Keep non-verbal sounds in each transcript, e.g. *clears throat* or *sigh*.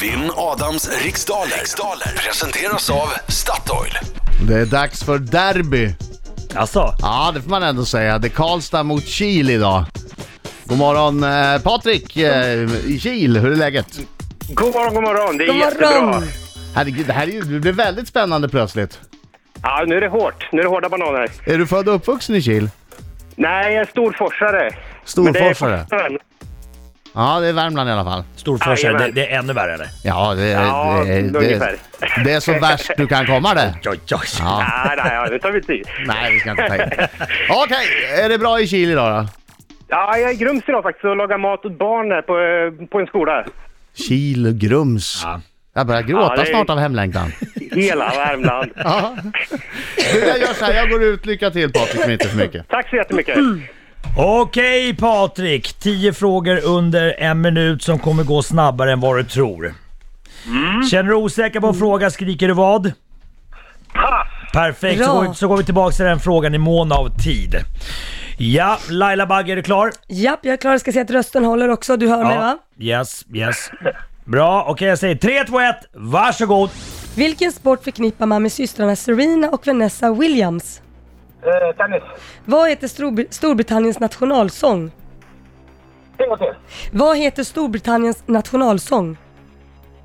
Vinn Adams riksdaler. riksdaler presenteras av Statoil. Det är dags för derby. Alltså, Ja, det får man ändå säga. Det är Karlstad mot Kil idag. God morgon eh, Patrik eh, i Kil, hur är läget? God morgon, god morgon. Det är God jättebra. morgon! Herregud, det här är ju, det blir väldigt spännande plötsligt. Ja, nu är det hårt. Nu är det hårda bananer. Är du född och uppvuxen i Kil? Nej, jag är storforsare. Men det är Storforsare? fortfarande- Ja, det är Värmland i alla fall. Storforsen, Jajamän. det, det är ännu värre eller? Ja, det, Ja, det, det, ungefär. det är så värst du kan komma det. Oj, oj, oj. Ja. Nej, nej, ja, nu tar vi tid. Nej, vi ska inte ta in. Okej, är det bra i Kil idag då? Ja, jag är i Grums idag faktiskt och lagar mat åt barn där på, eh, på en skola. Kil och Grums. Ja. Jag börjar gråta Ja, det är- snart av hemlängtan. Hela Värmland. Ja. Du, jag gör så här, jag går ut. Lycka till Patrik, men inte för mycket. Tack så jättemycket. Okej Patrik, 10 frågor under en minut som kommer gå snabbare än vad du tror. Mm. Känner du osäker på en fråga skriker du vad? Pass! Perfekt, så Bra. går, vi, så går vi tillbaka till den frågan i mån av tid. Ja, Laila Bagge, är du klar? Japp, jag är klar. Jag ska se att rösten håller också. Du hör mig va? Yes, yes. Bra, okej jag säger 3, 2, 1, varsågod! Vilken sport förknippar man med systrarna Serena och Vanessa Williams? Eh, tennis. Vad heter Storb- Storbritanniens nationalsång? En gång till. Vad heter Storbritanniens nationalsång?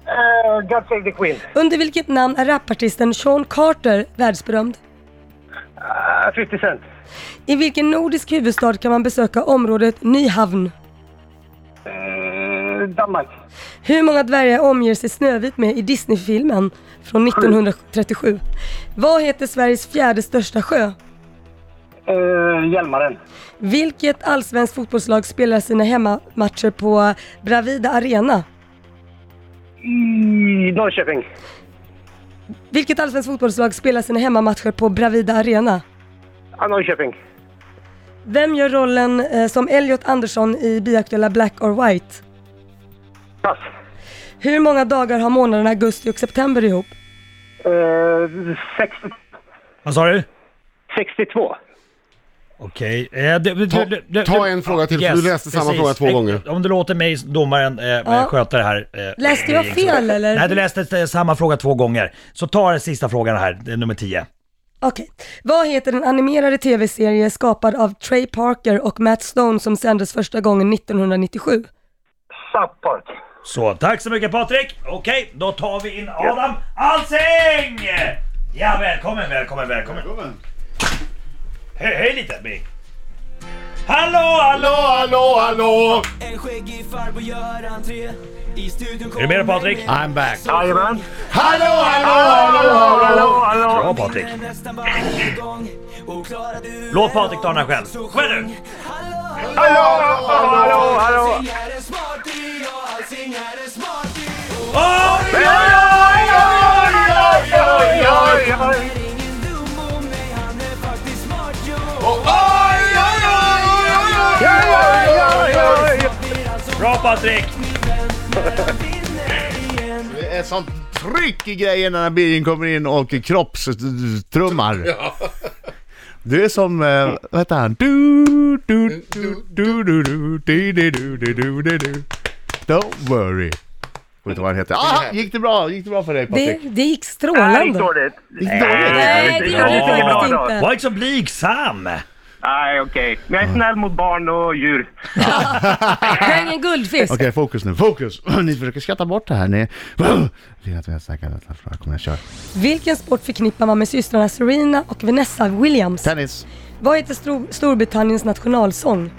Eh, God save the Queen. Under vilket namn är rapartisten Sean Carter världsberömd? Eh, 50 Cent. I vilken nordisk huvudstad kan man besöka området Nyhavn? Eh, Danmark. Hur många dvärgar omger sig Snövit med i Disney-filmen från 1937? Vad heter Sveriges fjärde största sjö? Eh, Hjälmaren. Vilket allsvenskt fotbollslag spelar sina hemmamatcher på Bravida Arena? I Norrköping. Vilket allsvenskt fotbollslag spelar sina hemmamatcher på Bravida Arena? Ah, Norrköping. Vem gör rollen eh, som Elliot Andersson i biaktuella Black or White? Pass. Hur många dagar har månaderna augusti och september ihop? Eh, 60, Vad sa du? 62. Okej. eh, det- det- Ta- det- det- ta en fråga till, för du läste samma fråga två Eh, gånger. Om du låter mig, domaren, eh, sköta det här. eh, Läste jag grejen, så- fel, eller? Nej, du läste eh, samma fråga två gånger. Så ta den sista frågan här, det är nummer 10. Okej. Vad heter den animerade tv-serie skapad av Trey Parker och Matt Stone som sändes första gången 1997? South Park. Så, tack så mycket Patrik! Okej, då tar vi in Adam Alsing! Ja, välkommen, välkommen, välkommen! Hej, hej lite Bing! Hallå, hallå! hallå, hallå! En skäggig farbror gör entré I studion Är du med då Patrik? I'm back. Jajamän. Hallå, hallå, hallå, hallå! Bra Patrik! nästan varje gång Och klarar du Låt Patrik ta den här själv. Kom igen nu! Hallå, hallå! Alsing är en smarting och Alsing är en smarting Oj, oj, Och ingen dum om mig, han är faktiskt smart jo Bra Patrik! Det är sånt tryck i grejen när Birgin kommer in och kroppstrummar. Du är som, eh, vad heter han? Du, du, du, du, du, du, di, di, du, di, du, di, du. Don't worry. Kommer inte ihåg vad han heter. Ah, gick det bra? Gick det bra för dig Det, Patrik? det gick Nej, inte strålande. dåligt. Gick det dåligt? Nej, det gjorde Ja. det faktiskt Ja. inte. Var inte så blygsam! Nej, okej. Men jag är snäll mot barn och djur. Häng en guldfisk. Okej, fokus nu. Fokus! *clears throat* Ni försöker skratta bort det här. Ni... *clears throat* Lina Therese tackar detta för att komma kör. Vilken sport förknippar man med systrarna Serena och Vanessa Williams? Tennis. Vad heter Stor- Storbritanniens nationalsång?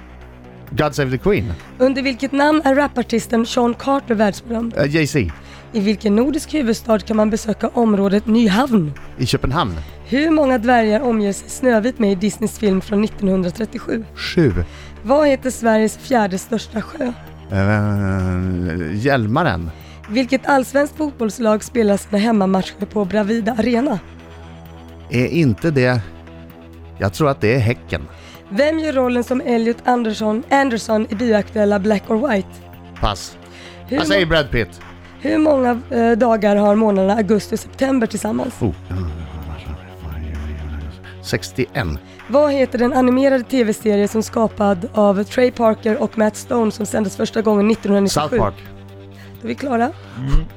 God Save the Queen. Under vilket namn är rapartisten Sean Carter världsberömd? Eh, Jay-Z. I vilken nordisk huvudstad kan man besöka området Nyhavn? I Köpenhamn. Hur många dvärgar omger sig Snövit med i Disneys film från 1937? Sju. Vad heter Sveriges fjärde största sjö? Eh, Hjälmaren. Vilket allsvenskt fotbollslag spelar sina hemmamatcher på Bravida Arena? Är inte det... Jag tror att det är Häcken. Vem gör rollen som Elliot Anderson, Anderson i bioaktuella Black or White? Pass. Hur, Jag säger Brad Pitt. må- hur många eh, dagar har månaderna augusti och september tillsammans? Oh. 61. Vad heter den animerade tv-serie som skapad av Trey Parker och Matt Stone som sändes första gången 1997? South Park. Då Är vi klara?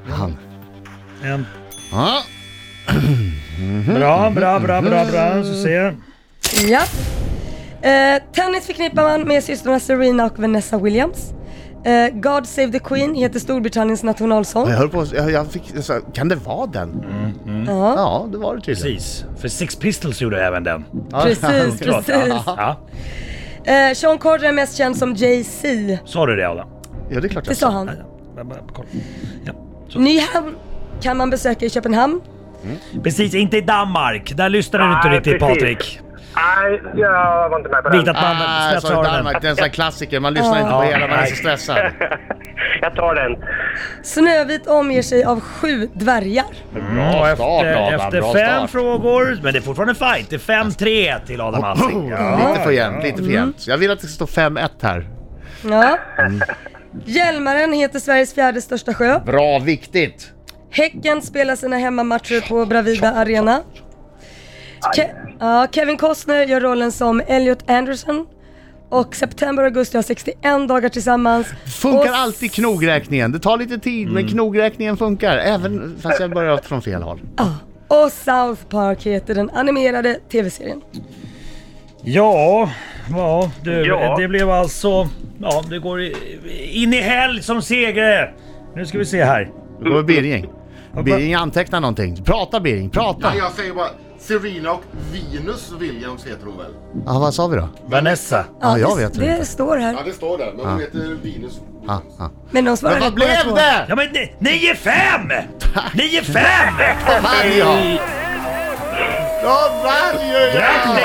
Han. En. Ja. Bra, bra, bra, bra, bra. Så ser jag. Ja. Eh, tennis förknippar man med systrarna Serena och Vanessa Williams. Eh, God Save the Queen heter Storbritanniens nationalsång. Jag höll på jag, jag fick, jag sa, kan det vara den? Mm-hmm. Ja, Ja, det var det tydligen. Precis. För Six Pistols gjorde även den. Ja. precis, Klart. precis. Ja. Eh, Sean Carter är mest känd som Jay-Z. Sa du det Adam? Ja, det är klart Det jag sa sa. han. Ja, bara kolla. Ja. Så. Nyhamn kan man besöka i Köpenhamn. Precis, inte i Danmark. Där lyssnar du inte Nej, riktigt precis. Patrik. Nej, jag var inte med på Viktigt den. att man Ah, spetsar sorry öronen. Danmark, det är en sån här klassiker. Man lyssnar inte på Ja. hela, man är Nej. så stressad. Jag tar den. Snövit omger sig av sju dvärgar. Bra start, Adam, Eh, Efter bra fem start. Oh, frågor, men det är fortfarande fight. Det är 5-3 till Adam Alsing. Ja. Lite för jämnt, lite Mm. för jämnt. Jag vill att det ska stå 5-1 här. Ja. Mm. Hjälmaren heter Sveriges fjärde största sjö. Bra, viktigt! Häcken spelar sina hemmamatcher på Bravida Arena. Ke- ja, Kevin Costner gör rollen som Elliot Anderson. Och september och augusti har 61 dagar tillsammans. Och Funkar s- alltid knogräkningen. Det tar lite tid, men knogräkningen funkar. Även fast jag börjar från fel håll. Och South Park heter den animerade tv-serien. Ja, ja, du, Ja. det blev alltså... Ja, det går i- in i helg som segrare. Nu ska vi se här. Då är Birging. Birging antecknar någonting. Prata Birging, prata! Nej, jag säger bara Serena och Venus Williams heter hon väl? Ja, vad sa vi då? Vanessa. Ja, jag det, vet det inte. står Ja, här. det står där, men hon heter Venus Ah, Williams. ah. Men de svarade Men vad rätt båda blev två. det? Ja men ni- 9-5! 9-5! Varje! Ja, varje!